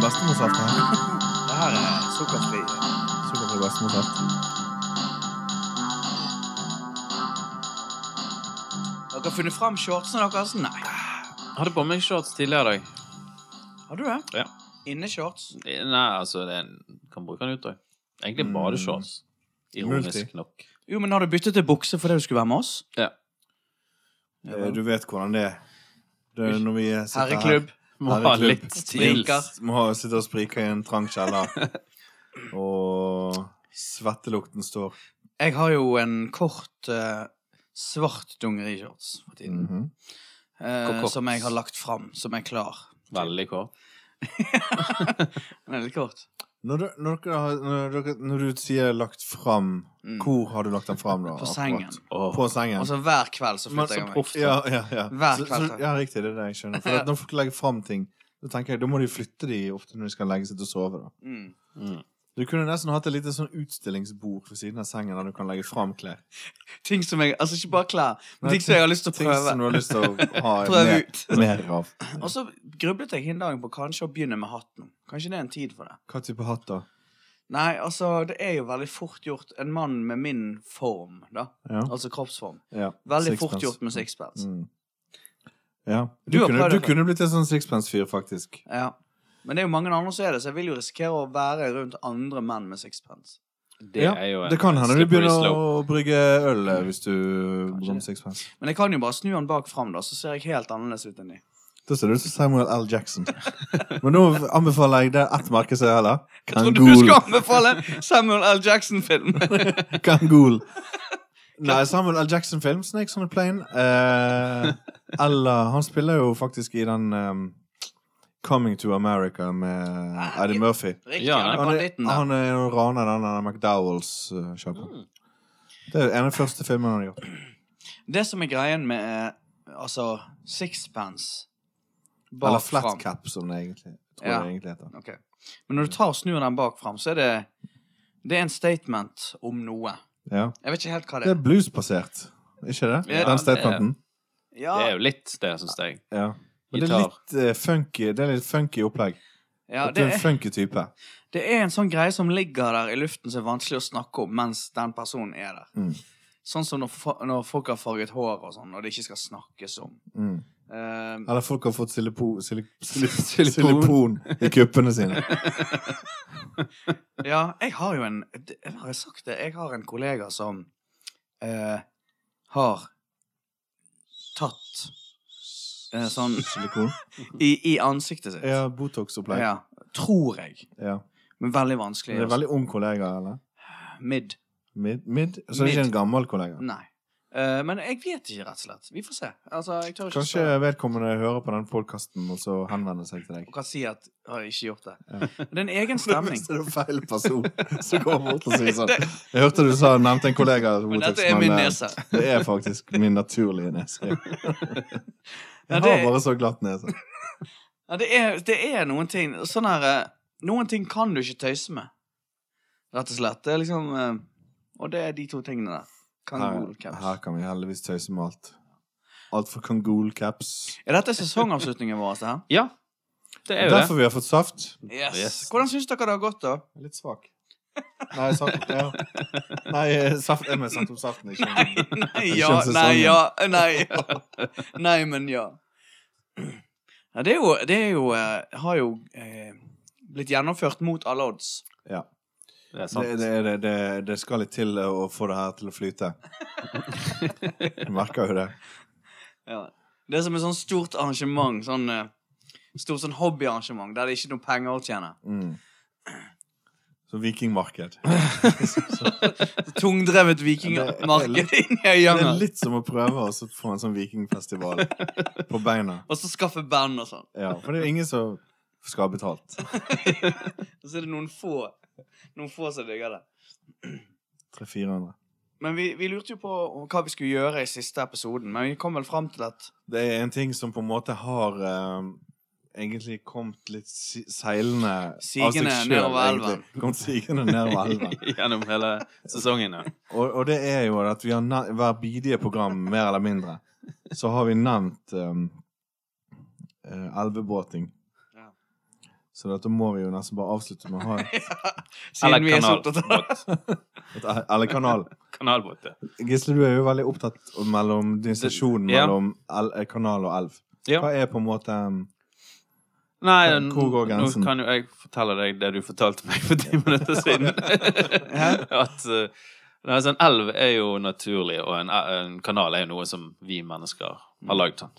bestemorssaft her. Det her er sukkerfri. Sukkerfri bestemorssaft. Dere har funnet fram shortsene deres? Nei. Hadde på meg shorts tidligere i dag. Har du det? Ja. Inne shorts. Nei, altså, det er en, kan bruke den ut òg. Egentlig Mm. badeshorts. Multi. Ironisk nok. Jo, men har du byttet til bukse fordi du skulle være med oss? Ja. Ja, Eh, Du vet hvordan det er. Det er når vi sitter Herreklubb. Må ha Herregud. litt stil. Spriker. her Må sitte og sprike i en trang kjeller. Og svettelukten står. Jeg har jo en kort eh, svart dungerishorts for tiden. Mhm. eh, Hvor kort? som jeg har lagt fram, som er klar. Veldig kort. Den er litt kort. når, du, når, dere har, når, dere, når du sier 'lagt fram', Mm. hvor har du lagt den fram, da? På akkurat? sengen. Altså, Åh. På sengen. Og så hver kveld så Men flytter så jeg meg. proff. ja, ja, ja. Hver Så, kveld, så, ja, riktig. Det er det jeg skjønner. For at når folk legger fram ting, da tenker jeg, da må de flytte de ofte når de skal legge seg til å sove. da Mm. Mm. Du kunne nesten hatt et lite sånn utstillingsbord ved siden av sengen der du kan legge fram klær. Ting som jeg Altså ikke bare klær, men Nei, ting som jeg har lyst til å Ting som du prøve. har lyst til å ha Prøve mer, ut. mer av. Og så grublet jeg hele dagen på kanskje å begynne med hatten. Kanskje det er en tid for det. Hva type hatt, da? Nei, altså, det er jo veldig fort gjort. En mann med min form, da. Ja. Altså kroppsform. ja. Sixpence. Veldig fort gjort med sixpence. Mm. Ja. Du Du, har kunne, prøvd du det før. kunne blitt en sånn sixpence-fyr, faktisk. Ja. Men det er jo mange andre som er det, så jeg vil jo risikere å være rundt andre menn med sixpence. Det Ja, er jo en Det kan hende du slippery begynner slope. å brygge øl eh, hvis du Kanskje bruker det. sixpence. Men jeg kan jo bare snu den bak fram, da, så ser jeg helt annerledes ut enn de. Da ser du ut som Samuel L. Jackson. Men nå anbefaler jeg det ett merke som gjelder. Jeg trodde du skulle anbefale Samuel L. Jackson-film! Kangol. Nei, Samuel L. Jackson-film. 'Snakes on a Plane'. sånn Eh, eller Han spiller jo faktisk i den ehm, 'Coming to America' med Eddie Murphy. Riktig, Ja, han Ah, er Han er, banditten, da. han er jo raner den der McDowells-sjappa. Mm. Det er jo en av de første filmene han har gjort. Det som er greien med eh, altså sixpence bak Eller fram. flat cap, som det egentlig, tror jeg Ja. det egentlig heter. Ok. Men når du tar og snur den bak fram, så er det Det er en statement om noe. Ja. Jeg vet ikke helt hva det Det er. er bluesbasert, ikke det? Ja, den statementen. Ja, Det er jo litt det, syns jeg. Ja. Men det er Gitar. litt eh, funky Det er litt funky opplegg. ja At du det, er en er, funky type. det er en sånn greie som ligger der i luften som er vanskelig å snakke om mens den personen er der. Mm. Sånn som når, fa- når folk har farget hår og sånn, og det ikke skal snakkes om. Mm. Eh, Eller folk har fått silipo, silik, Silikon. silikon. i kuppene sine. ja, jeg har jo en Har jeg sagt det? Jeg har en kollega som eh, har tatt eh, sånn Silikon. i, i ansiktet sitt. Ja, Botox-opplegg. Ja. Ja. Tror jeg. Men veldig vanskelig. Det altså. er en veldig ung kollega, eller? Mid. Mid? mid? Så er det ikke Mid. en gammel kollega. Nei. Eh, men jeg vet ikke, rett og slett. Vi får se. Altså, jeg tør ikke Kanskje spørre. vedkommende hører på den podkasten og så henvender seg til deg. Og kan si at har jeg ikke gjort det. Ja. Det er en egen stemning. Hvis det er feil person som går bort og sier sånn Jeg hørte du sa, nevnte en kollega Men Botox, dette er min eh, nese. Det er faktisk min naturlige nese. Ja, Jeg det- har bare så glatt nese. Ja, det, er, det er noen ting Sånn her eh, Noen ting kan du ikke tøyse med. Rett og slett. Det er liksom eh, Og det er de to tingene der. Her, Kangol caps. her kan vi heldigvis tøyse med alt. Alt fra Kangol-caps. Er dette sesongavslutningen vår? Det her? Ja, det er jo det. Derfor vi har fått saft. Yes. Yes. Hvordan syns dere det har gått, da? Jeg er Litt svak. Nei, saft, ja. Nei saft, jeg mener saft om saften. Ikke. Nei, nei, Det ja, kjennes nei, sånn. ja, nei, ja. Nei, men ja. ja det er jo, det er jo eh, Har jo eh, blitt gjennomført mot alle odds. Ja. Det er Det, sant. det, det, det, det skal litt til eh, å få det her til å flyte. Du merker jo det. Ja. Det er som et sånn stort arrangement. Sånn, eh, stort sånn hobbyarrangement der det ikke er noe penger å tjene. Mm. Så vikingmarked. Tungdrevet Ja, det vikingmarked i Det er Nøyanger. litt som å prøve å så få en sånn vikingfestival på beina. Og så skaffe band og sånn. Ja, for det er jo ingen som skal ha betalt. Og så er det noen få Noen få som digger det. 300-400. Men vi, vi lurte jo på hva vi skulle gjøre i siste episoden, men vi kom vel fram til at Det er en ting som på en måte har eh, egentlig kommet litt si seilende Sigende selv, nedover egentlig. elven. Kommet sigende nedover elven. Gjennom hele sesongen, ja. Og, og det er jo at vi har nev- hver bidige program, mer eller mindre, så har vi nevnt um, eh, elvebåting. Ja. Så dette må vi jo nesten bare avslutte med å ha et, Eller Siden vi er så opptatt av kanalbåt. Eller kanal. Kanalbåt, ja. Gisle, du er jo veldig opptatt mellom distinksjonen Ja. mellom el eh, kanal og elv. Ja. Hva er på en måte um, Nei, Hvor- hvor går nå grensen? kan jo jeg fortelle deg det du fortalte meg for ti minutter siden. At eh, nei, altså, en elv er jo naturlig, og en, eh, en kanal er jo noe som vi mennesker Mm. har lagd sånn.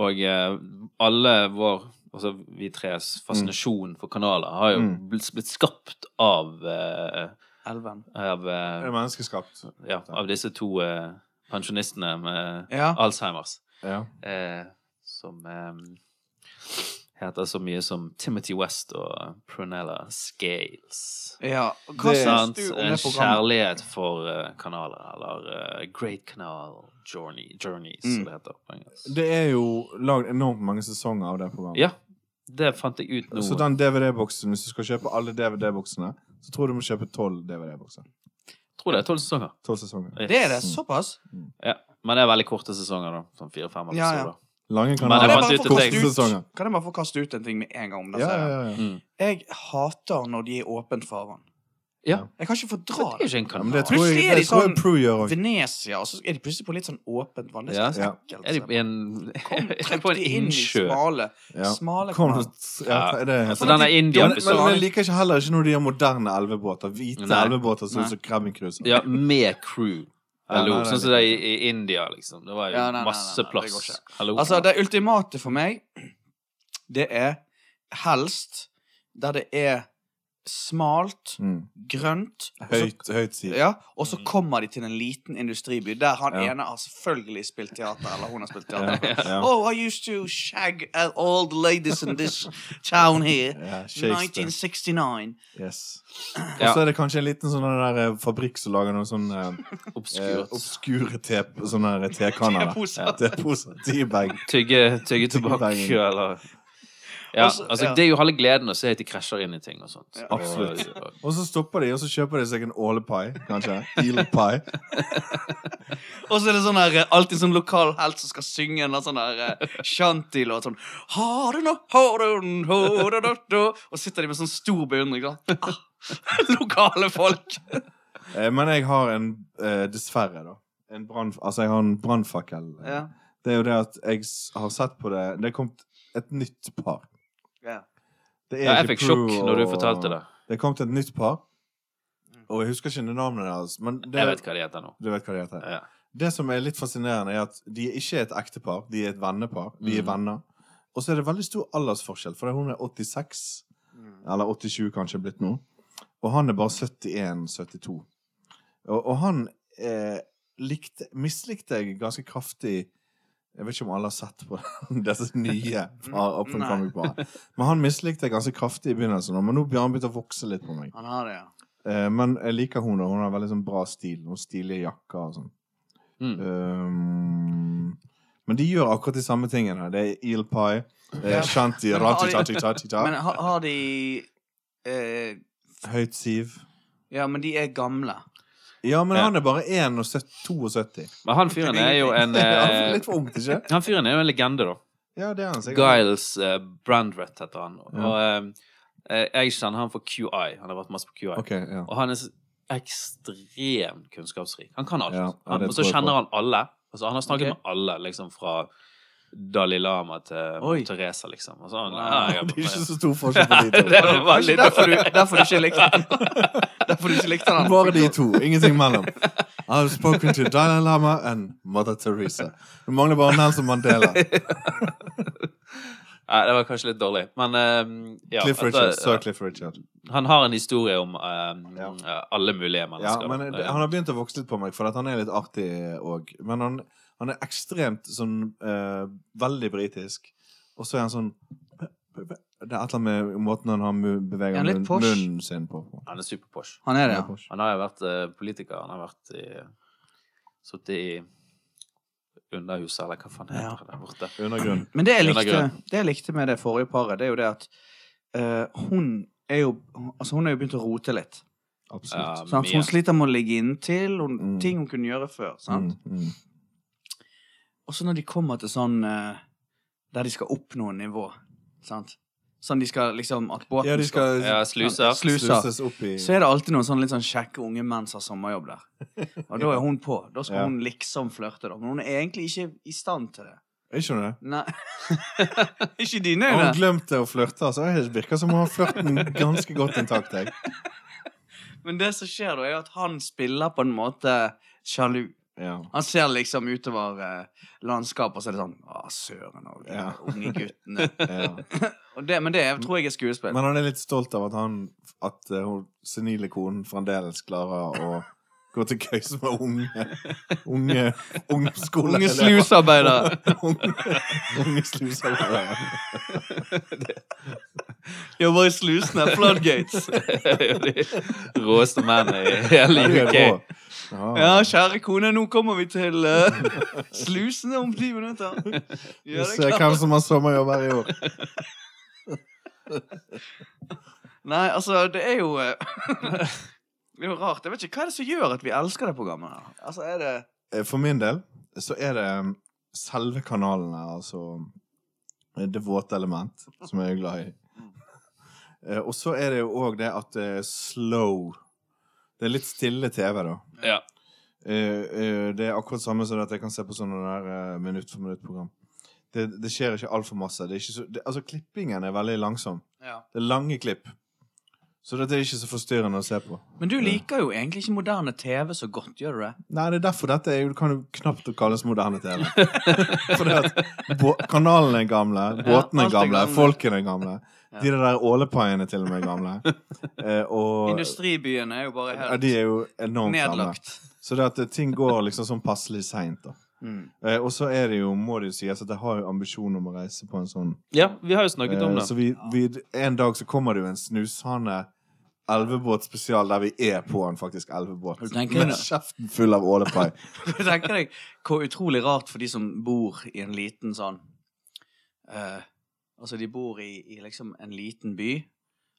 Og eh, alle vår Altså vi tres fascinasjon for kanaler har jo Mm. blitt, blitt skapt av eh, Elven. av, eh, Er det menneskeskapt? ja, av disse to eh, pensjonistene med Ja. Alzheimers. Ja. eh, som eh, heter så mye som Timothy West og Prunella Scales. ja. og Hva Det er eh, syns Sant? du om En det programmet? kjærlighet for eh, kanaler, eller eh, Great Canal Journey, Journeys, Mm. som det heter på engelsk. Det er jo lagd enormt mange sesonger av det programmet. Ja, det fant jeg ut nå. Så den DVD-boksen, hvis du skal kjøpe alle DVD-boksene, så tror jeg du må kjøpe tolv DVD-bokser. Tror det er tolv sesonger. Tolv sesonger. Det er det. Såpass? Ja. Men det er veldig korte sesonger, da. Sånn fire-fem Ja, ja. episoder. Lange Men Kan kanaler. jeg jeg, fant bare ut at få jeg- kaste Sesonger. ut, kan jeg bare få kaste ut en ting med en gang om det? Ja, ja, serien? ja. Mm. Jeg hater når de er åpent farvann. Ja. Jeg kan ikke Det fordra er det. ikke en Ja, men kanal. det tror jeg, Plutselig er de det tror jeg sånn- Prue gjør òg. Venezia, og så er de plutselig på litt sånn åpent vann. Det Ja. er så Ja. ekkelt. Er de i en, Kom, er de trekk på en de inn i innsjø? smale, Ja. smale Kom, kanaler. ja, det er helt Så Altså, den er Ja, men, men India-episoden. jeg liker ikke heller ikke når de har moderne elvebåter. Hvite Nei. elvebåter som Nei. ser krabbingcruiser. Ja, med crew. Hallo. nei, nei, sånn som nei. det er i, i India, liksom. Det var jo Ja, nei, nei, nei, masse nei, det går plass. ikke. Hallo. Altså, det ultimate for meg, det er helst der det er smalt, Mm. grønt og så- Høyt, høyt side. Ja, og så kommer de til en liten industriby der han Ja. ene har selvfølgelig spilt teater, eller hun har spilt Ja. teater. Ja. Oh, I used to shag at all the ladies in this town here. Ja, Shakespeare. 1969. Yes. Og Ja. så er det kanskje en liten sånn der eh, fabrikk som lager noen sånn eh, eh, Obskurt. obskure te, sånne der tekanner. Teposer. Ja, Teposer. Teabag. tygge, tygge tilbake, Tyggebaggen. eller ja, Altså, altså, ja. Det er jo halve gleden å se at de krasjer inn i ting og sånt. Ja. Og- Absolutt. og- Og så stopper de, og så kjøper de seg en ålepai, kanskje. Eelpai. Og så er det sånn her, eh, alltid sånn lokal helt som skal synge en eller annen sånn her eh, shanty-låt. Sånn har du noe, har du den, har du den, da?» Og sitter de med sånn stor beundring. da. Ah, lokale folk. Eh, Men jeg har en, eh, dessverre, da en brand, Altså, jeg har en brannfakkel. Ja, Det er jo det at jeg s- har sett på det Det er kommet et nytt par. ja. Det ja, jeg ikke fikk sjokk Prue når du og- fortalte det. Mm. Det er kommet et nytt par. Og jeg husker ikke navnet deres. Men det, Jeg vet hva de heter nå. du vet hva de heter. Ja. Det som er litt fascinerende, er at de er ikke et ektepar. De er et vennepar. De er Mm. venner. Og så er det veldig stor aldersforskjell, for hun er 86, eller 87 kanskje blitt nå. Og han er bare 71-72. Og, og han eh, likte, mislikte jeg ganske kraftig Jeg vet ikke om alle har sett på disse nye par- up and Nei. coming-parene. Men han mislikte jeg ganske kraftig i begynnelsen, men nå har han begynt å vokse litt på meg. Han har det, ja. Eh, men jeg liker hun, og hun har veldig sånn bra stil. Noen stilige jakker og sånn. Mm. Ehm, men de gjør akkurat de samme tingene. Det er eel pie, det Ja. er shanty, Men har de- Men ratitatatita, ha, har de eh, høyt siv. Ja, men de er gamle. Ja, men Ja. han er bare 1 og søt- 72. Men han fyren er jo en Ja, eh, Litt for ungt, ikke? Han fyren er jo en legende, da. Ja, det er han sikkert. Giles eh, Brandrett heter han. Og Ja. eh, jeg kjenner han for QI. Han har vært masse på QI. Ok, ja. Og han er s- ekstremt kunnskapsrik. Han kan alt. Ja, ja, det han, og så tror jeg på. kjenner han alle. Altså, han har snakket Ok. med alle, liksom fra Dalai Lama til Oi. Teresa, liksom. Og så han, Wow. ja, jeg, Det er ikke så stor forskjell på de Det to. var Kanskje veldig derfor du, derfor du ikke likte den. Derfor du ikke likte den. Bare de to. Ingenting mellom. I've spoken to Dalai Lama and Mother Teresa. Det mangler bare Nelson Mandela. Nei, det var kanskje litt dårlig, men eh, ja, Cliff at, Richard. eh, Sir Cliff Richard. Han har en historie om eh, Ja. eh, alle mulige Ja, mennesker. men da. det, han har begynt å vokse litt på meg, for at han er litt artig òg. Men han, han er ekstremt sånn eh, Veldig britisk. Og så er han sånn Det er et eller annet med måten han har mu- beveger Ja, litt munn- posh. munnen sin på. han er superposh. Han er Han er det, ja. posh. Han har jo vært eh, politiker. Han har vært i Sittet i Underhuset, eller hva faen heter Ja. det der borte. Undergrunn. Men det jeg Den er likte, det jeg likte med det forrige paret, det er jo det at eh, hun er jo Altså, hun er jo begynt å rote litt. Absolutt. Ja, Sant? mye. Hun sliter med å ligge inntil, og Mm. ting hun kunne gjøre før. Sant? Mm, mm. Og så når de kommer til sånn eh, der de skal opp noen nivå, sant? Sånn de skal liksom At båten Ja, de skal Ja, sluser. Sluser. sluses opp i Så er det alltid noen sånn litt sånn kjekke unge menn som har sommerjobb der. Og da er hun på. Da skal Ja. hun liksom flørte, da. Men hun er egentlig ikke i stand til det. Jeg skjønner det. Nei. ikke i dine Har hun øyne. glemt det å flørte? altså? Det virker som hun har flørten ganske godt intakt. Jeg. Men det som skjer da, er at han spiller på en måte sjalu. Ja. Han ser liksom utover eh, landskapet, og så er det sånn Å, søren og de Ja. unge guttene. Ja. Og det, men det er- tror jeg er skuespill. Men han er litt stolt av at han At eh, hun senile konen fremdeles klarer å gå til køys med unge Unge ungskoleelever. Unge slusarbeidere. unge, unge sluseelever. Jobber i slusene. Floodgates. de råeste mennene i hele Ja, det er UK. bra. Ja. Ja, kjære kone, nå kommer vi til eh, slusene om ti minutter. Vi Gjør ser deg klar. eh, hvem som har sommerjobb her i år. Nei, altså, det er jo eh, Det er jo rart. Jeg vet ikke, Hva er det som gjør at vi elsker det programmet? her? Altså, er det Eh, For min del så er det um, selve kanalene, altså eh, det våte element, som jeg er glad i. Eh, Og så er det jo òg det at det er slow. Det er litt stille TV, da. Ja. Eh, eh, Det er akkurat samme som at jeg kan se på sånne der eh, minutt for minutt-program. Det, det skjer ikke altfor masse. Det er ikke så, det, altså, klippingen er veldig langsom. ja. Det er lange klipp. Så dette er ikke så forstyrrende å se på. Men du liker jo egentlig ikke moderne TV så godt, gjør du det? Nei, det er derfor dette er, jo- kan jo knapt kalles moderne TV. Fordi at bå- kanalene er gamle, båtene er alt er gamle, gamle. folkene er gamle. Ja. De der ålepaiene til og med er gamle. Eh, og Industribyen er jo bare ja, helt de er jo enormt gamle. nedlagt. Så det at eh, ting går liksom sånn passelig seint, da. Mm. Eh, og så er det jo, må det jo sies, at jeg har jo ambisjon om å reise på en sånn ja, vi har jo snakket om eh, det. Så vi, vi, en dag så kommer det jo en snushane elvebåtspesial der vi er på en faktisk elvebåt. Du tenker Med det. kjeften full av ålepai. Jeg tenker deg hvor utrolig rart for de som bor i en liten sånn eh, Altså, de bor i, i liksom en liten by,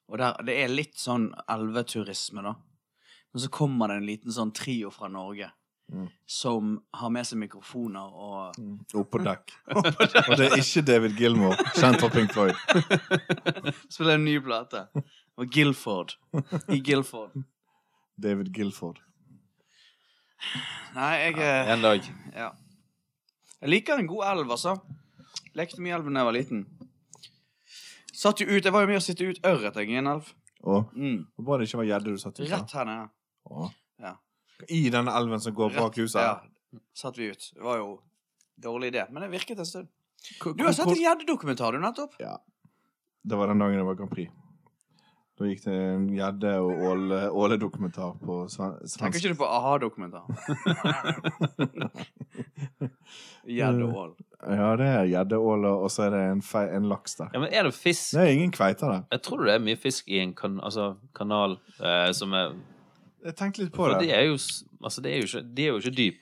og der, det er litt sånn elveturisme, da. Men så kommer det en liten sånn trio fra Norge Mm. som har med seg mikrofoner og Opp på dekk. Og det er ikke David Gilmore, kjent fra Pink Floyd. spiller en ny plate. Og Guilford. I Guilford. David Gilford. Nei, jeg eh, En dag. Ja. Jeg liker en god elv, altså. Lekte mye i elven da jeg var liten. Satt jo ut, Jeg var jo med å sitte ut ørret jeg, i en elv. Og Mm. hvor bra det ikke var gjedde du satt ut Rett her nede. Å. Ja. I denne elven som går bak huset. Ja, satt vi ut. Det var jo dårlig idé, men det virket en stund. Hvor- Du har sett hvor- en gjeddedokumentar, du, nettopp? Det var den dagen det var Grand Prix. Da gikk det en gjedde- og åle- åledokumentar på sven- Tenker svensk ikke du på a-ha-dokumentaren? Gjeddeål. Ja, det er gjeddeåler, og så er det en, fe en laks der. Ja, men er det fisk? Det er ingen kveiter der. Jeg tror det er mye fisk i en kan altså, kanal eh, som er Jeg tenkte litt på For de det. er jo, s- altså, de er jo, ikke, de er jo ikke dyp.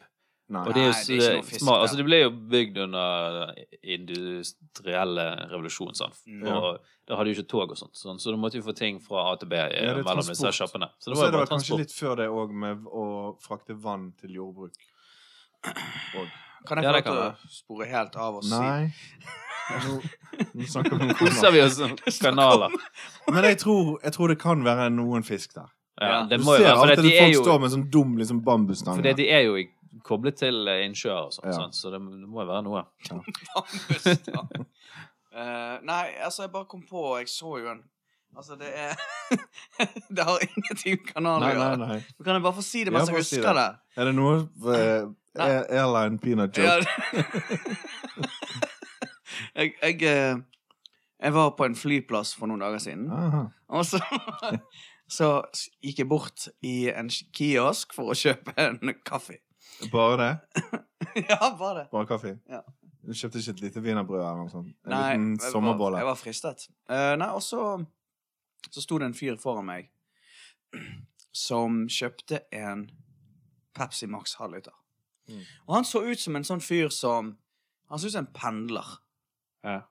Og Nei. de er jo Nei, det er ikke noe fisk små, der. altså, de ble jo bygd under industrielle revolusjon, sant? Mm. og da hadde jo ikke tog og sånt, sånn, så da måtte vi få ting fra A til B eh, Ja, det er mellom disse transport. sjappene. Så Og det så var er det jo vel bare kanskje transport. litt før det òg med å frakte vann til jordbruk. Og Kan jeg Ja, få det lov kan til å spore helt av og si Nei. Nå, nå snakker vi om Koser kanaler. vi oss om kanaler. Men jeg tror, jeg tror det kan være noen fisk der. Ja, Ja. det Du må jo ser være, for alltid at de at er folk jo står med en sånn dum liksom, bambusstang. Fordi de er jo i- koblet til eh, innsjøer og sånt, Ja. sant? så det, det må jo være noe. Bambusstang. Eh, nei, altså, jeg bare kom på Jeg så jo en Altså, det er Det har ingenting med kanalen å Nei, nei, gjøre. nei. Men Kan jeg bare få si det Ja, mens jeg bare si husker det? Er det noe eh, Nei. air- airline peanut Ja. joke? jeg, jeg, eh, jeg var på en flyplass for noen dager siden. Aha. Og så, så gikk jeg bort i en kiosk for å kjøpe en kaffe. Bare det? ja, bare det. Bare kaffe? Ja. Du kjøpte ikke et lite wienerbrød eller noe sånt? En Nei, jeg liten var- sommerbolle? Jeg var fristet. Eh, nei, og så Så sto det en fyr foran meg som kjøpte en Pepsi Max halvliter. Mm. Og han så ut som en sånn fyr som Han så ut som en pendler. Ja.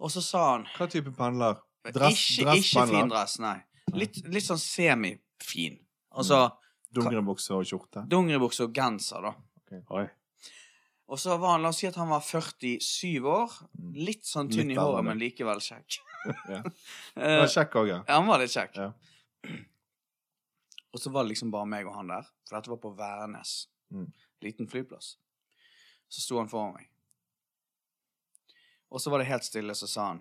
Og så sa han Hva type pendler? Dress, Ikke, ikke dresspendler? fin dress, nei. Litt, litt sånn semifin. Altså Mm. Dungeribukse og skjorte? dongeribukse og genser, da. Oi. Og så var han, la oss si at han var 47 år. Mm. Litt sånn tynn Litt i håret, eldre. men likevel kjekk. Ja. Det Eh, var kjekk òg, ja. ja, han var litt kjekk. Ja. Og så var det liksom bare meg og han der, for dette var på Værnes. Mm. Liten flyplass. Så sto han foran meg. Og så var det helt stille, så sa han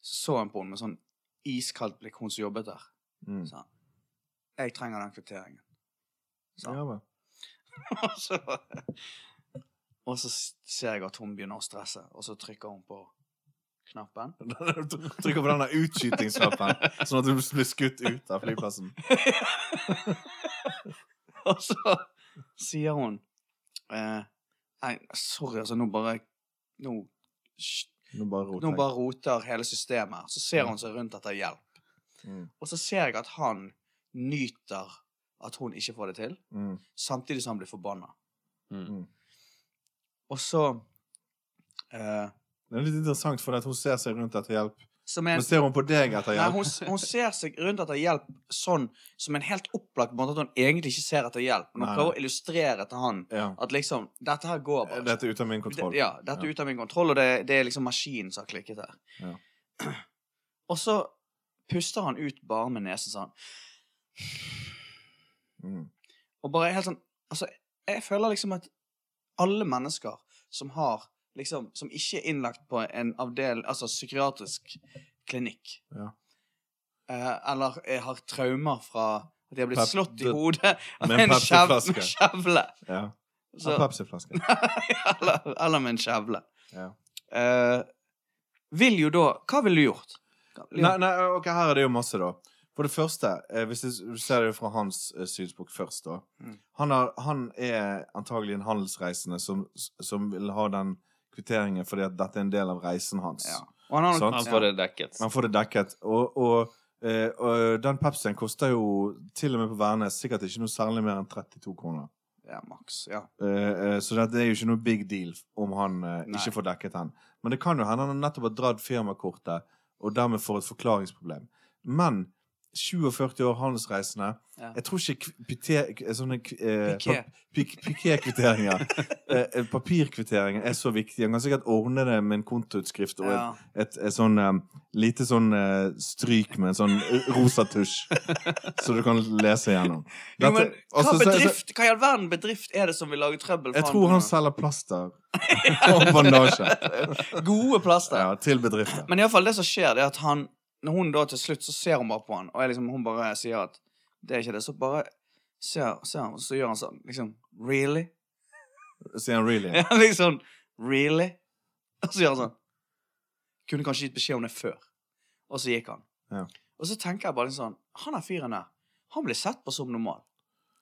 Så så han på henne med sånn iskaldt blikk, hun som jobbet der. Mm. Så han Jeg trenger den kvitteringen. Så. ja vel. Og så Og så ser jeg at hun begynner å stresse, og så trykker hun på knappen. Trykker på den der utskytingsknappen, sånn at du blir skutt ut av flyplassen. Og så sier hun eh, Nei, sorry, altså, nå bare Nå, nå Nå bare roter jeg. bare roter hele systemet. Så ser hun seg rundt etter hjelp. Mm. Og så ser jeg at han nyter at hun ikke får det til, Mm. samtidig som han blir forbanna. Mm. Og så eh, Det er litt interessant, for at hun ser seg rundt etter hjelp. Som Men en ser hun på deg etter Nei, hjelp? hun, s- hun ser seg rundt etter hjelp sånn som en helt opplagt måte at hun egentlig ikke ser etter hjelp. Men hun Nei, prøver å illustrere til han Ja. at liksom Dette her går bare Dette er ute av min kontroll. Det- Ja, dette er ute av min kontroll, og det, det er liksom maskinen som har klikket her. Ja. Og så puster han ut bare med nesen sånn. Mm. Og bare helt sånn Altså, jeg føler liksom at alle mennesker som har liksom Som ikke er innlagt på en avdel... Altså psykiatrisk klinikk. Ja. Eh, eller eh, har traumer fra at de har blitt Pep- slått i det- hodet av med en en kjev- Pepsi-flaske. med kjevle. Ja. Så, Av Pepsi-flaske. eller, eller med en kjevle. Ja. Eh, vil jo da Hva ville du gjort? Nei, nei, ok, her er det jo masse, da. For det første, eh, hvis jeg s- ser det fra hans eh, synspunkt først, da. Mm. Han, har, han er antagelig en handelsreisende som, som vil ha den kvitteringen fordi at dette er en del av reisen hans. Ja. Og han har nok- Sant? Han får det dekket. Man får det dekket. Og, og, eh, og den Pepsien koster jo til og med på Værnes sikkert ikke noe særlig mer enn 32 kroner. Ja, ja, maks. Ja. Eh, eh, så det, det er jo ikke noe big deal om han eh, Nei. ikke får dekket den. Men det kan jo hende han nettopp har dratt firmakortet, og dermed får et forklaringsproblem. Men 47 år handelsreisende Ja. Jeg tror ikke kv- pite- k- sånne k- eh, pap- Piqué. pik- Piqué-kvitteringer eh, eh, Papirkvitteringer er så viktig. Han kan sikkert ordne det med en kontoutskrift og et, ja. et, et sånn eh, lite sånn eh, stryk med en sånn rosa tusj, så du kan lese gjennom. Jo, men Dette- hva, altså, så- så- bedrift, hva i all verden bedrift er det som vil lage trøbbel? for jeg tror han selger plaster og bandasje Gode plaster. ja, til bedrifter. Men i alle fall, det som skjer, det er at han Når hun da til slutt, så ser hun bare på han, og jeg liksom, hun bare sier at det er ikke det. Så bare ser, ser han, og så gjør han sånn liksom Really? Sier han really. Ja, liksom Really? Og så gjør han sånn. Kunne kanskje gitt beskjed om det før. Og så gikk han. Ja. Og så tenker jeg bare litt sånn Han der fyren der, han blir sett på som normal.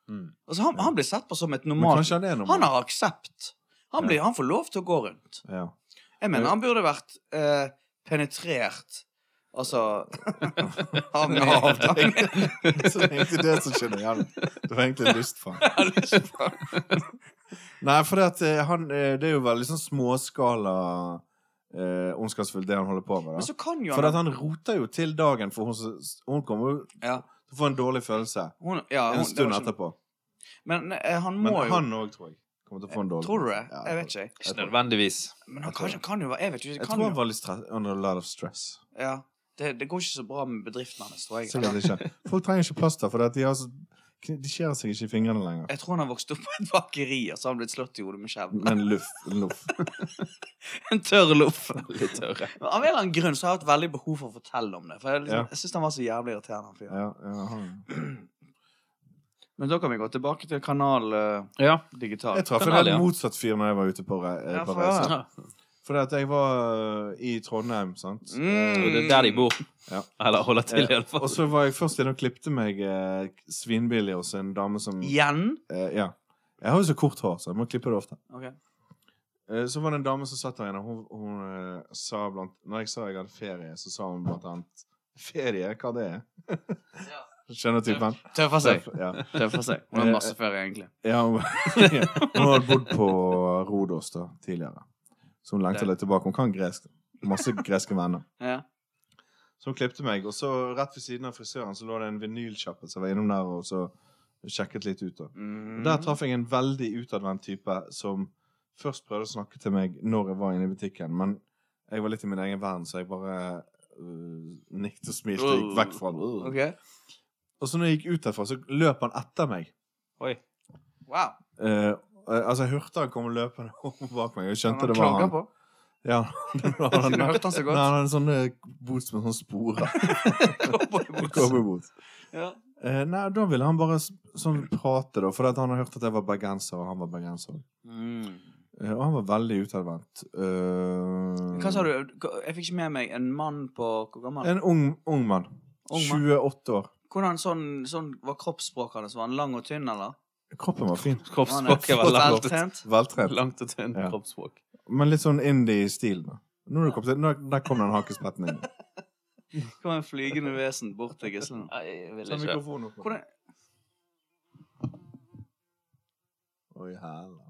Mm. Altså, han, han blir sett på som et Men normalt kanskje han er noe Han har aksept. Han, blir, han får lov til å gå rundt. ja. Jeg mener han burde vært eh, penetrert. Altså Av meg. Av Av deg. meg. Så det er egentlig det som skjer igjen. Det var egentlig lystfang. Nei, for det, at, eh, han, eh, det er jo veldig sånn småskala eh, ondskapsfullt, det han holder på med. Men Da. så kan jo For at han, han roter jo til dagen, for hun, som- hun kommer jo ja, til å få en dårlig følelse hun, ja, hun, en det var stund ikke- etterpå. Men eh, han Men må jo han òg, tror jeg, kommer til å få en dårlig Tror du det? Ja, Jeg vet ikke. Ikke nødvendigvis. Men han Jeg tror kan, kan jo være Jeg vet jo ikke. Jeg det Kan tror han jo, var litt stress, under a lot of stress. ja, det, det går ikke så bra med bedriften hans, tror jeg. Sikkert ikke. Folk trenger ikke plaster, for at de, har så, de skjærer seg ikke i fingrene lenger. Jeg tror han har vokst opp på et bakeri, og så har han blitt slått i hodet med kjevlen. Men luff. luff. En tørr loff. Litt tørre. Men Av en eller annen grunn så har jeg hatt veldig behov for å fortelle om det. For jeg, liksom, Ja. jeg syns han var så jævlig irriterende. Han fyren. Ja, ja, han- Men da kan vi gå tilbake til kanal eh, Ja. digital. jeg traff en Kanal, helt ja. motsatt fyr når jeg var ute på, re Ja, på for- ja. reise. Fordi at jeg var øh, i Trondheim, sant. Mm. Og det er der de bor. Ja. Eller holder til, i alle Og fall. så var jeg først inne og klippte meg eh, svinbillig hos en dame som Igjen? eh, Ja. Jeg har jo så kort hår, så jeg må klippe det ofte. Ok. Eh, Så var det en dame som satt der inne, og hun, hun eh, sa blant Når jeg sa jeg hadde ferie, så sa hun blant annet Ferie? Hva det er? Skjønner typen? Tøffer seg. Ja. Tøffer seg. Hun Eh, har masse ferie, egentlig. Ja, hun, hun hadde bodd på Rodos da, tidligere. Så hun lengter Det- litt tilbake. Hun kan gresk. Masse greske venner. Ja. Så hun klippte meg, og så rett ved siden av frisøren så lå det en vinylkjappe som var innom der og så sjekket litt ut. da. Mm. Og Der traff jeg en veldig utadvendt type som først prøvde å snakke til meg når jeg var inne i butikken, men jeg var litt i min egen verden, så jeg bare øh, nikket og smilte og gikk vekk fra den. Øh. Ok. Og så når jeg gikk ut derfra, så løp han etter meg. Oi. Wow. Eh, altså, jeg hørte han komme løpende om bak meg, og jeg skjønte Han det var klager han. på. Ja, det var han. Skulle Nei, hørt han så han godt. hadde en sånn eh, boots med sånn sporer. Cowboybukse. Cowboyboots. Ja. Eh, nei, da ville han bare s- sånn prate, da, fordi at han hadde hørt at jeg var bergenser, og han var bergenser. Mm. Eh, og han var veldig utadvendt. Eh, Hva sa du? Jeg fikk ikke med meg en mann på Hvor gammel? En ung, ung mann. Ung mann. 28 år. Hvordan sånn, sånn var kroppsspråket hans? Var han lang og tynn, eller? Kroppen var fin. Kroppsspråket var langt, og- veltrent. Veltrent. langt og tynt. Ja. Kroppsspråk. Men litt sånn indie-stil. da. Nå er det kommet til, nå, der kom den hakespetten inn. Kom en flygende vesen bort til gislene. Nei, jeg vil Ta ikke. mikrofonen opp. Hvordan Oi, hella.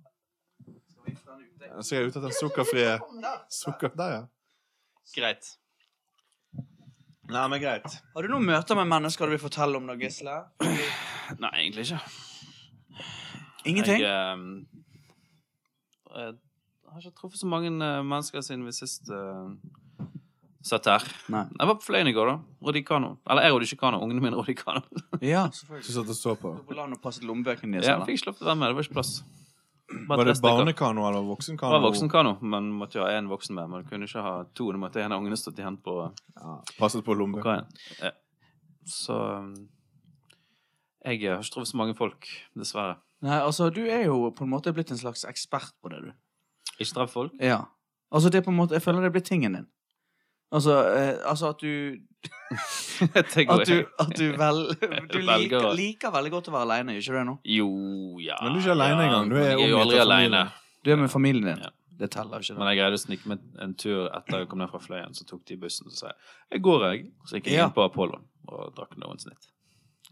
Så jeg er ute etter den sukkerfrie Sukker Der, ja. Greit. Nei, men greit. Har du noen møter med mennesker du vil fortelle om, da, Gisle? Nei, egentlig ikke. Ingenting? Jeg, ehm, jeg har ikke truffet så mange eh, mennesker siden vi sist eh, satt her. Nei. Jeg var på Fløyen i går, da. Rodde i kano. Eller jeg rodde ikke kano. Ungene mine rodde i kano. Ja, Du selvfølgelig. satt og så på. Du på land og passet lommebøkene dine. Ja, jeg eller? fikk ikke lov til å være med. Det var ikke plass. Bare Var det tre stykker. barnekano eller Det voksenkano? var voksenkano, men måtte jo ha én voksen med. Men kunne ikke ha to. Da måtte en av ungene stått igjen på Ja, passet på lommebøker. kaien. Ja. Så ehm, jeg har ikke truffet så mange folk, dessverre. Nei, altså, du er jo på en måte blitt en slags ekspert på det, du. Ikke treff folk. Ja. Altså, det er på en måte Jeg føler det blir tingen din. Altså, eh, altså at du Det går At du, jeg. at du vel Du Velger liker, å- liker veldig godt å være aleine, gjør ikke du det nå? Jo, ja Men du er ikke alene ja, engang. Du men er Jeg er jo omgitt av aldri familie. alene. Du er med familien din. Ja. Det teller ikke. Men det. jeg greide å snike meg en tur etter jeg kom ned fra Fløyen. Så tok de bussen og sa jeg, jeg går, jeg. Så gikk jeg Ja. inn på Apollon og drakk noen snitt.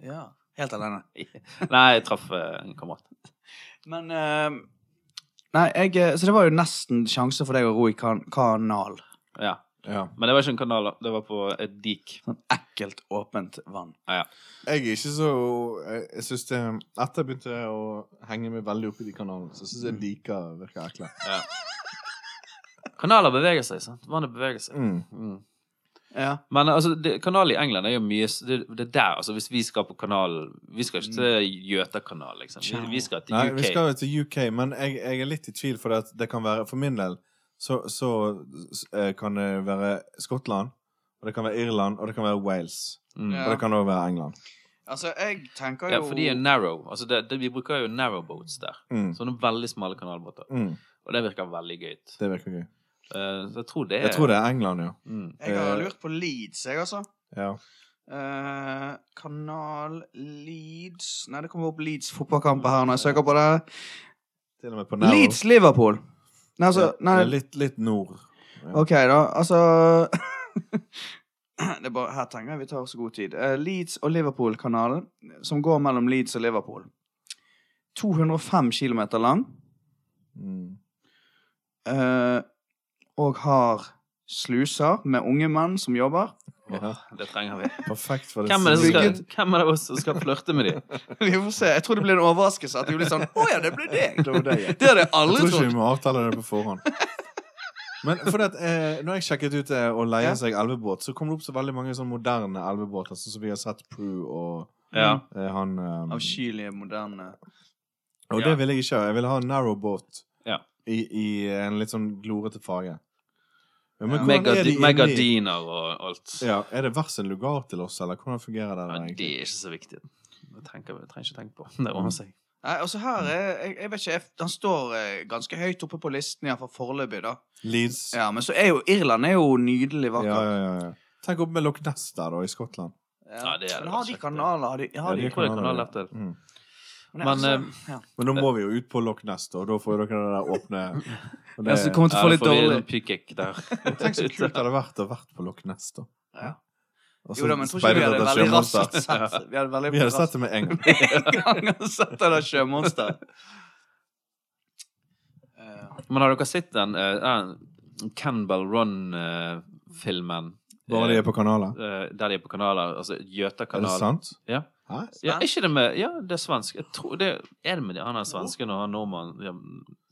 Ja. Helt alene. Nei, jeg traff eh, en kamerat. Men eh, Nei, jeg eh, Så det var jo nesten sjanse for deg å ro i kan kanal. Ja. Ja. Men det var ikke en kanal, da. det var på et dik. Sånn ekkelt, åpent vann. Jeg er ikke så Jeg, jeg synes det Etter jeg begynte å henge meg veldig opp i de kanalene, så syns Mm. jeg liker virker ekle. Ja. Kanaler beveger seg, sant? Vannet beveger seg. Mm. Mm. Ja. Men altså, det, kanalen i England er jo mye s- Det, det er der, altså. Hvis vi skal på kanalen Vi skal ikke til Gjøtakanal, liksom. Vi, vi skal til Mm. Nei, UK. vi skal jo til UK, men jeg, jeg er litt i tvil, for det, at det kan være For min del så, så s- eh, kan det være Skottland, og det kan være Irland, og det kan være Wales. Mm. Ja. Og det kan òg være England. Altså, jeg tenker jo Ja, for de er narrow. Altså, det, det, vi bruker jo narrowboats der. Mm. Sånne veldig smale kanalbåter. Mm. Og det virker veldig gøy. Eh, Det virker gøy. Så jeg tror det er Jeg tror det er England, ja. Mm. Jeg har eh, lurt på Leeds, jeg, altså. ja. Eh, kanal Leeds Nei, det kommer opp Leeds fotballkamper her når jeg søker på det. Til og med på Narrow. Leeds Liverpool. Nei, altså Ja, nei, Litt, litt nord. OK, da. Altså det er bare, Her tenker jeg vi tar så god tid. Eh, Leeds og Liverpool-kanalen, som går mellom Leeds og Liverpool. 205 km lang, Mm. eh, og har sluser med unge menn som jobber. Ja. Det trenger vi. Perfekt for det Hvem er det som siste. skal, hvem er det også som skal flørte med dem? Vi får se. Jeg tror det blir en overraskelse at det blir sånn Å ja, det blir deg! Det var deg, ja. Det hadde jeg Jeg aldri tror ikke trodd. vi må avtale det på forhånd. Men for det at, eh, når jeg sjekket ut eh, å leie Ja. seg elvebåt, så kom det opp så veldig mange sånne moderne elvebåter, sånn som vi har sett Prue og Ja. eh, han eh, Avskyelige, moderne Og Ja. det ville jeg ikke ha. Jeg ville ha en narrow boat Ja. i, i en litt sånn glorete farge. Ja, Ja. men hvordan er de Megadi- inni- Megadiner og alt. Ja, Er det hver sin lugar til oss, eller hvordan fungerer det? der Ja, det egentlig? er ikke så viktig. Det trenger vi trenger ikke tenke på. Det ordner seg. Nei, altså her er, jeg, jeg vet ikke, jeg, Han står eh, ganske høyt oppe på listen, iallfall foreløpig. da Leeds. Ja, Ja, Men så er jo Irland er jo nydelig ja, ja, vakker. ja. Tenk opp med Loch Ness der, da, i Skottland. Ja, det er det men har de faktisk. kanaler? Har de, Ja, har de, de- Jeg tror det er kanal etter. Mm. men Men, altså, ja. Men nå må vi jo ut på Loch Ness, da, og da får dere det der åpne og det, Jeg altså, kommer til å få Ja, litt da får vi en dårlig Pykek der. Tenk så kult det hadde vært å vært på Loch Ness, da. ja. Altså, Og Jo så da, men tror ikke vi speidet hadde etter veldig raskt sjømonster. sett Vi hadde veldig Vi hadde sett det med en gang. det en gang sett det der sjømonster. Eh, Men har dere sett den eh, den eh, Campbell Run-filmen? Bare de er på kanaler. Der de er på kanaler. Altså Er det Gjøtakanalen. sant? Ja. Hæ? Ja, Svensk? ikke det med Ja, det er svensk. Jeg tror det er det med de andre svenskene og han nordmannen ja,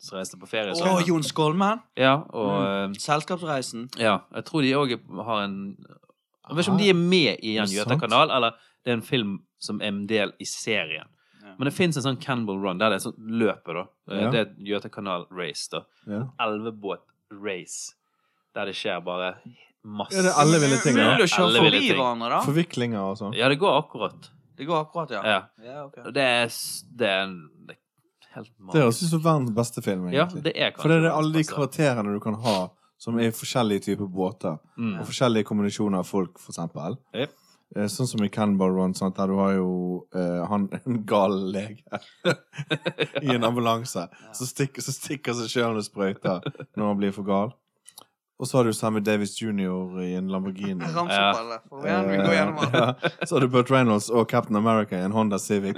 som reiste på ferie. Å, sammen. Jon Skolmen. Ja, og Mm. ehm, eh, Selskapsreisen. Ja, jeg tror de òg har en Jeg vet ikke om Ah, de er med i en er det sant? Gjøta-kanal, eller det er en film som er en del i serien. Ja. Men det fins en sånn Cannibal Run, der det er sånn løpet, da. Eh, Ja. Det er et Gjøta-kanal-race, da. Ja. Elvebåt-race. Der det skjer bare masse Ja, det er alle ville ting, ja. Mulig å kjøre Alle ville forbi ting. hverandre, da. Forviklinger og sånn. Ja, det går akkurat. Det går akkurat, ja. Ja. Ja, ok. Og Det er s- Det er, en, det er helt Det høres ut som verdens beste film, Ja, egentlig. det er kanskje For det er alle de verdens beste. karakterene du kan ha, som er i forskjellige typer båter. Mm. Og forskjellige kombinasjoner av folk, for eksempel. Jep. Eh, Sånn som i Cannibal Run, sant, der du har jo eh, han, en gal lege i en ambulanse som stikker, som stikker seg sjøl med sprøyter når han blir for gal. Og så har du Sammy Davis jr. i en Lamborghini. Rams Ja. opp alle. Kom igjen, vi går gjennom alle. Ja. Så har du Burt Reynolds og Captain America i en Honda Civic.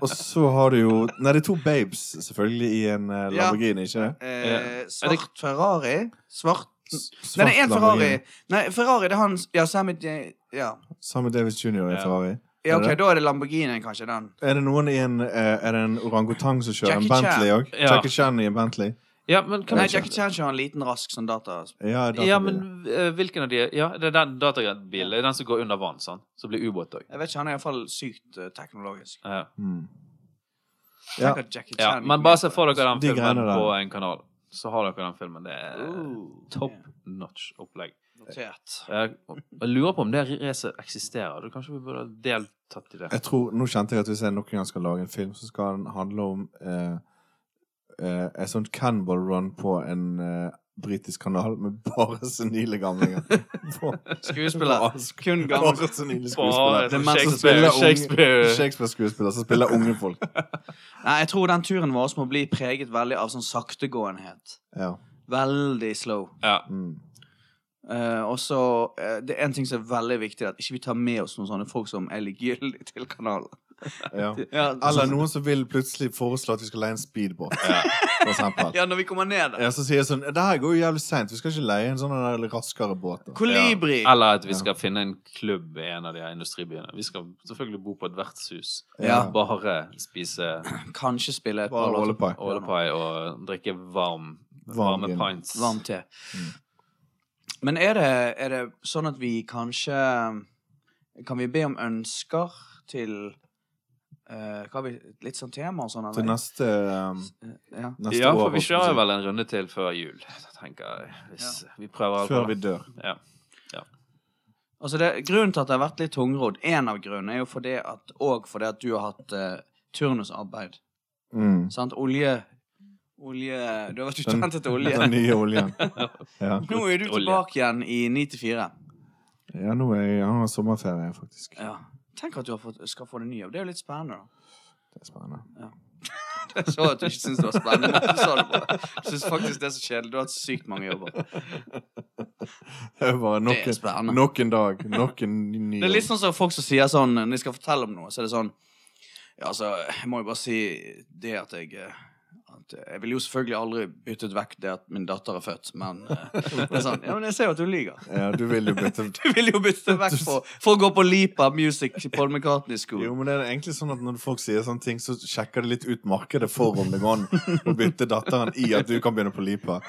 Og så har du jo Nei, det er to babes, selvfølgelig, i en eh, Ja. Lamborghini, ikke det? Eh, svart Ferrari. Svart S- Nei, svart det er én Ferrari. Lamborghini. Nei, Ferrari, det er han Ja, Sammy J- Ja. Sammy Davis jr. i en Ja. Ferrari. ja OK, Er det? da er det Lamborghini, kanskje, den. Er det noen i en eh, Er det en orangutang som kjører Jackie en Bentley òg? Ja. Jackie Chan i en Bentley? Ja, men kan Nei, vi- Jackie Chan kjører en liten, rask sånn data... Ja, da Ja, får vi det. men eh, hvilken av de Ja, det er den databilen. Det er den som går under vann, sånn. Så blir ubåt òg. Jeg vet ikke, han er iallfall sykt eh, teknologisk. Ja. Mm. Ja. Tenk at Jackie ja. Chan gikk Men med bare se på for det. dere den De filmen greiene der. på en kanal. Så har dere den filmen. Det er Oh, top ja, notch opplegg. Notert. Jeg, jeg lurer på om det racet eksisterer. Du, kanskje vi burde ha deltatt i det. Jeg tror, Nå kjente jeg at hvis jeg noen gang skal lage en film, så skal den handle om eh, eh, et sånt cannibal run på en eh, britisk kanal med bare senile gamlinger. På- Skuespiller. Bare Kun gammel. bare senile Bare skuespillere. eh, Det er sånn mest som spiller Shakespeare, unge- Shakespeare. Shakespeare-skuespillere som spiller unge folk. Nei, jeg tror den turen vår må bli preget veldig av sånn saktegåenhet. Ja. Veldig slow. Ja. Mm. Eh, og så eh, Det er en ting som er veldig viktig, at ikke vi tar med oss noen sånne folk som er likegyldige til kanalen. ja. Ja, altså- Eller sånn- noen som vil plutselig foreslå at vi skal leie en speedbåt, Ja. for eksempel. Ja, når vi kommer ned der. Ja, så sier jeg sånn Det her går jo jævlig seint. Vi skal ikke leie en sånn der raskere båt. da." Kolibri. Ja. Eller at vi skal finne en klubb i en av de her industribyene. Vi skal selvfølgelig bo på et vertshus. Ja. Bare spise Kanskje spille et par Bare låter. rollepai. ålepai og drikke varm, Varm varme vin. pints. Varm te. Mm. Men er det, er det sånn at vi kanskje Kan vi be om ønsker til eh, hva har vi, Litt sånn tema og sånn? Til Eller? Eh, neste, um, Ja. neste Ja, år. for vi holdt jeg på å kjører si. vel en runde til før jul, tenker jeg. Hvis vi prøver alt Før på vi det. dør. Ja. Altså det, grunnen til at det har vært litt tungrodd, én av grunnene, er jo fordi at Og fordi at du har hatt eh, turnusarbeid. Mm. Sant? Olje Olje Du har vært Den- utdannet til olje. Den nye oljen. Ja, Nå er du Olje. tilbake igjen i 9 til 4. ja nå er jeg, jeg har sommerferie, faktisk. Ja. Tenk at du har fått, skal få det nye. Det er jo litt spennende, da. Det er spennende. Jeg så at du ikke syntes det var spennende. men Du sa det bra. Jeg syns faktisk det er så kjedelig. Du har hatt sykt mange jobber. Det er bare nok, Det er spennende. nok en dag. Nok en ny Det er litt sånn som folk som sier sånn når de skal fortelle om noe, så er det sånn Ja, altså, jeg må jo bare si det at jeg eh, at eh, jeg ville jo selvfølgelig aldri byttet vekk det at min datter er født, men eh, det er sånn, ja, men jeg ser jo at du lyver. Ja, du vil jo bytte Du vil jo bytte det vekk for, for å gå på Lipa Music i Paul McCartney School. Jo, men det er egentlig sånn at Når folk sier sånne ting, så sjekker de litt ut markedet for om det går an å bytte datteren i at du kan begynne på Lipa.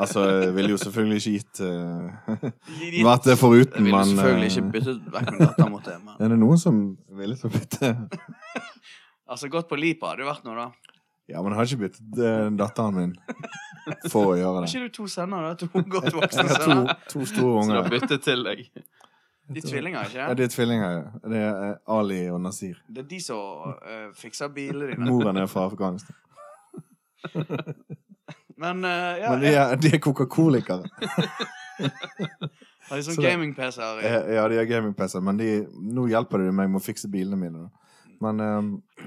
Altså, jeg ville jo selvfølgelig ikke gitt eh, De- de- vært det foruten, Jeg ville men selvfølgelig eh, ikke byttet vekk min datter mot det, men Er det noen som er villig til å bytte? altså, gått på Lipa hadde jo vært noe, da. Ja, men jeg har ikke byttet eh, datteren min for å gjøre Har det. ikke du to sønner, da? To godt voksne Jeg har to, sønner? to store Så da unger. bytte til deg. De tvillinger, ikke? Ja, de er tvillinger. ja. Det er eh, Ali og Nasir. Det er de som eh, fikser bilene dine. Moren er fra Afghanistan. Men eh, ja, Men de er, de er Coca-Colikere. har de sånn så det- gaming-PC-er? i- Eh, Ja, de er gaming-PC, men de, nå hjelper de meg med å fikse bilene mine. Da. Men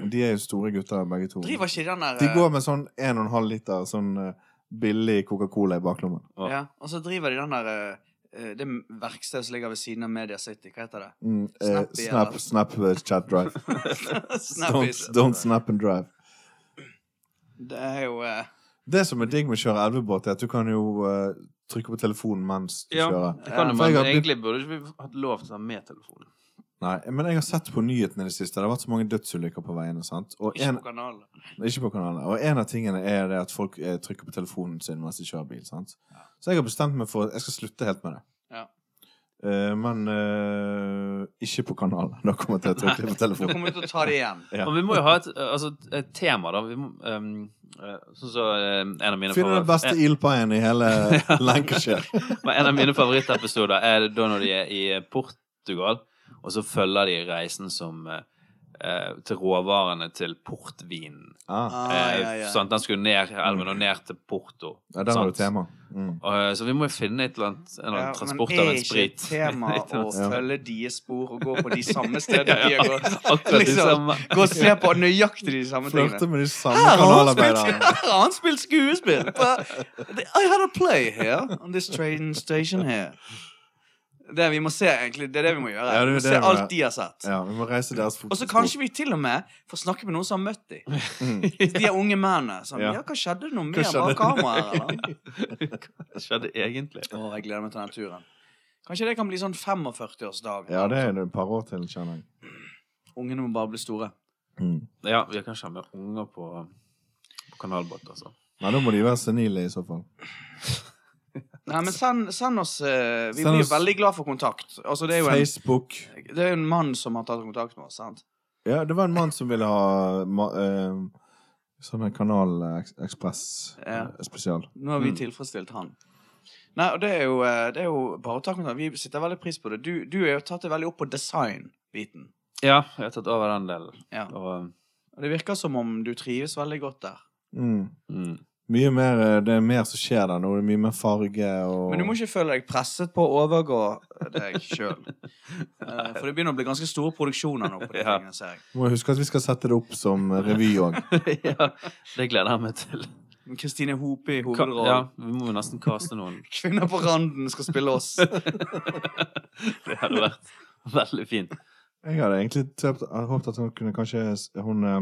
eh, de er jo store gutter, begge to. Driver ikke den der De eh, går med sånn 1,5 liter sånn eh, billig Coca-Cola i baklommen. eh, ja, Og så driver de den der eh, eh, Det verkstedet som ligger ved siden av Media City. Hva heter det? Mm, eh, Snappy, snap, snap, eller? eh, chat drive. don't, Snappies. don't snap and drive. Det er jo eh, Det som er digg med å kjøre elvebåt, er at du kan jo eh, trykke på telefonen mens du Ja, kjører. det kan Ja, du, for jeg men har blitt- egentlig burde ikke vi hatt lov til å ha med telefonen. Nei, men jeg har sett på nyhetene i det siste. Det har vært så mange dødsulykker på veiene. sant? Og Ikke en, på kanalen. ikke på kanalen. Og en av tingene er det at folk eh, trykker på telefonen sin mens de kjører bil. sant? Så jeg har bestemt meg for at jeg skal slutte helt med det. Ja. Eh, men eh, ikke på kanalen. Da kommer jeg til å trykke på Da telefonen. kommer vi til å ta det igjen. Ja. Og vi må jo ha et, altså, et tema, da. Vi må, ehm, eh, sånn som så, en av mine Finner den beste favor- ildpaien i hele Lancashire. Men en av mine favorittepisoder er da når de er i eh, Portugal, og så følger de reisen som eh, eh, til råvarene til portvinen. Ah, Ah, Eh, ja, ja. sant? Den skulle ned elven og ned til Porto. ja, der har du sant? tema. Mm. Og, eh, så vi må jo finne et eller annet, en eller Ja, annen transport av en sprit. Men er ikke et tema å Ja. følge deres spor og gå på de samme stedene Ja, de ja, har gått? akkurat de Liksom. samme. Gå og se på nøyaktig de samme Flørte tingene. med de samme Her har han spilt, kanalarbeiderne. her har han spilt skuespill! på- I had a play here on this train station here. Det vi må se, egentlig. Det er det vi må gjøre. Ja, det er vi må det se vi må alt gjøre. de har sett. Ja, vi må reise deres fotspor. Og så kanskje vi til og med får snakke med noen som har møtt dem. Mm. De er unge mennene. Sånn, Ja. ja, hva skjedde noe mer skjedde? bak kameraet? eller? Hva skjedde egentlig? Å, jeg gleder meg til den turen. Kanskje det kan bli sånn 45-årsdag. Ja, det er det et par år til, kjenner jeg. Ungene må bare bli store. Mm. Ja, vi kan ikke ha med unger på, på kanalbåt, altså. Nei, da må de være senile i så fall. Nei, men send, send oss eh, Vi Send blir oss- veldig glad for kontakt. Altså, det er jo en, Facebook. det er jo en mann som har tatt kontakt med oss, sant? Ja, det var en mann som ville ha ma eh, sånne Kanal eh, Ekspress Ja. eh, spesial. Nå har vi Mm. tilfredsstilt han. Nei, og det er, jo, eh, det er jo bare å ta kontakt. Vi setter veldig pris på det. Du, du er jo tatt det veldig opp på design-biten. Ja, jeg har tatt over den delen. Ja. Og, Og det virker som om du trives veldig godt der. Mm. mm. Mye mer, eh, det er mer som skjer der nå. Det er mye mer farge og Men du må ikke føle deg presset på å overgå deg sjøl. For det begynner å bli ganske store produksjoner nå. på de Ja. tingene, ser jeg. Må huske at vi skal sette det opp som eh, revy òg. ja, det gleder jeg meg til. Men Kristine Hope i Ka hovedrollen. ja, vi må jo nesten kaste noen. Kvinner på randen skal spille oss. Det hadde vært veldig fint. Jeg hadde egentlig tøpt, jeg hadde håpet at hun kunne kanskje s- Hun eh,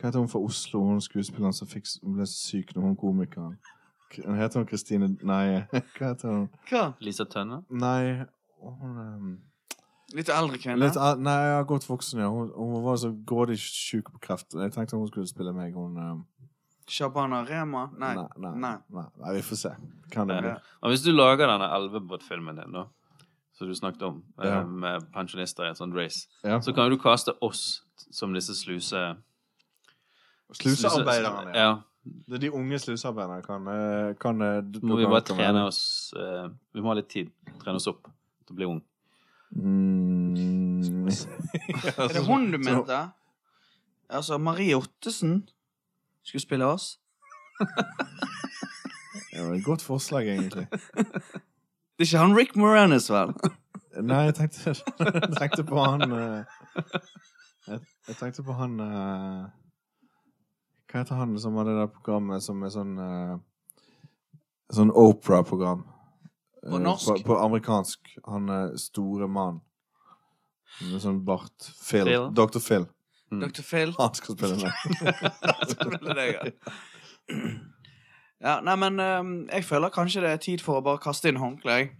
Hva heter hun fra Oslo, hun skuespilleren som fikk, s- hun ble så syk når hun komikeren? K- Hun heter hun Kristine Nei, hva heter hun? Hva? Lisa Tønne? Nei, hun eh, Litt eldre kvinne. Litt, a- nei, jeg har gått voksen, ja. Hun, hun var så grådig sjuk på kreft. Jeg tenkte hun skulle spille meg. Hun eh, Shabana Rema? Nei. Nei, nei, nei. Nei. Nei, vi får se. Kan det bli. Ja. Men hvis du lager denne elvebåtfilmen din, da, som du snakket om, eh, Ja. med pensjonister i et sånt race, Ja. så kan jo du kaste oss som disse sluse... Slusearbeiderne. Ja. Ja. Det er de unge slusearbeiderne kan, eh, kan eh, d- Må vi kan- bare kan trene være- oss eh, Vi må ha litt tid. Trene oss opp til å bli ung. Mm. Er det hun du mente? Altså, Marie Ottesen skulle spille oss. Det var et godt forslag, egentlig. Det er ikke han Rick Moranis, vel? Nei, jeg tenkte, jeg tenkte på han eh, jeg, jeg tenkte på han eh, Hva heter han som hadde det der programmet som er sånn eh, Sånn Opera-program. På Eh, norsk? På, på amerikansk. Han eh, store mann. Med sånn bart. Phil. Phil? Dr. Phil. Mm. Dr. Phil? Han skal spille med. Spille deg, ja. ja. Nei, men ehm, jeg føler kanskje det er tid for å bare kaste inn håndkle, jeg.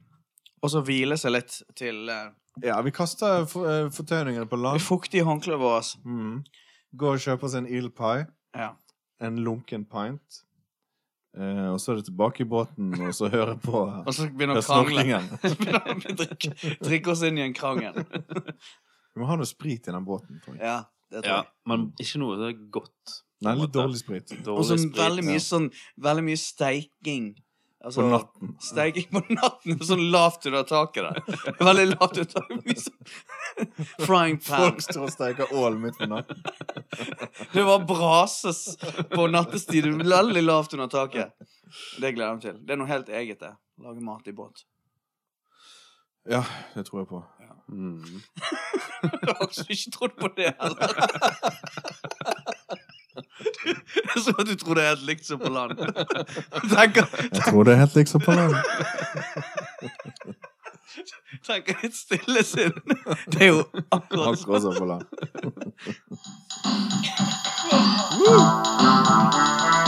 Og så hvile seg litt til eh, Ja, vi kaster for, eh, fortøyningene på det land. fuktige håndkleet vårt. Mm. Går og kjøper oss en eel pie. Ja. en lunken pint. Eh, og så er det tilbake i båten, og så høre på Og så begynner å krangle. snorklingen. Begynner å drikke, drikke oss inn i en krangel. Vi må ha noe sprit i den båten. tror jeg. Ja, det tror Ja, jeg. men ikke noe det er godt. Nei, litt dårlig sprit. Og så Dårlig sprit. veldig mye sånn Veldig mye steiking. Altså, På natten. Steiking på natten og sånn lavt under taket der. Veldig lavt under taket. Mye sånn frying pan. Folk står og steker ål midt på natten. Det var brases på nattestid. Veldig lavt under taket. Det gleder jeg meg til. Det er noe helt eget, det. Lage mat i båt. Ja, det tror jeg på. Mm. Jeg har også ikke trodd på det heller. Det er som at du tror det er helt likt som på land. Tenker, Jeg tror det er helt liksom på land. tenker et stille sinn. Det er jo akkurat det Akkurat som på land. Thank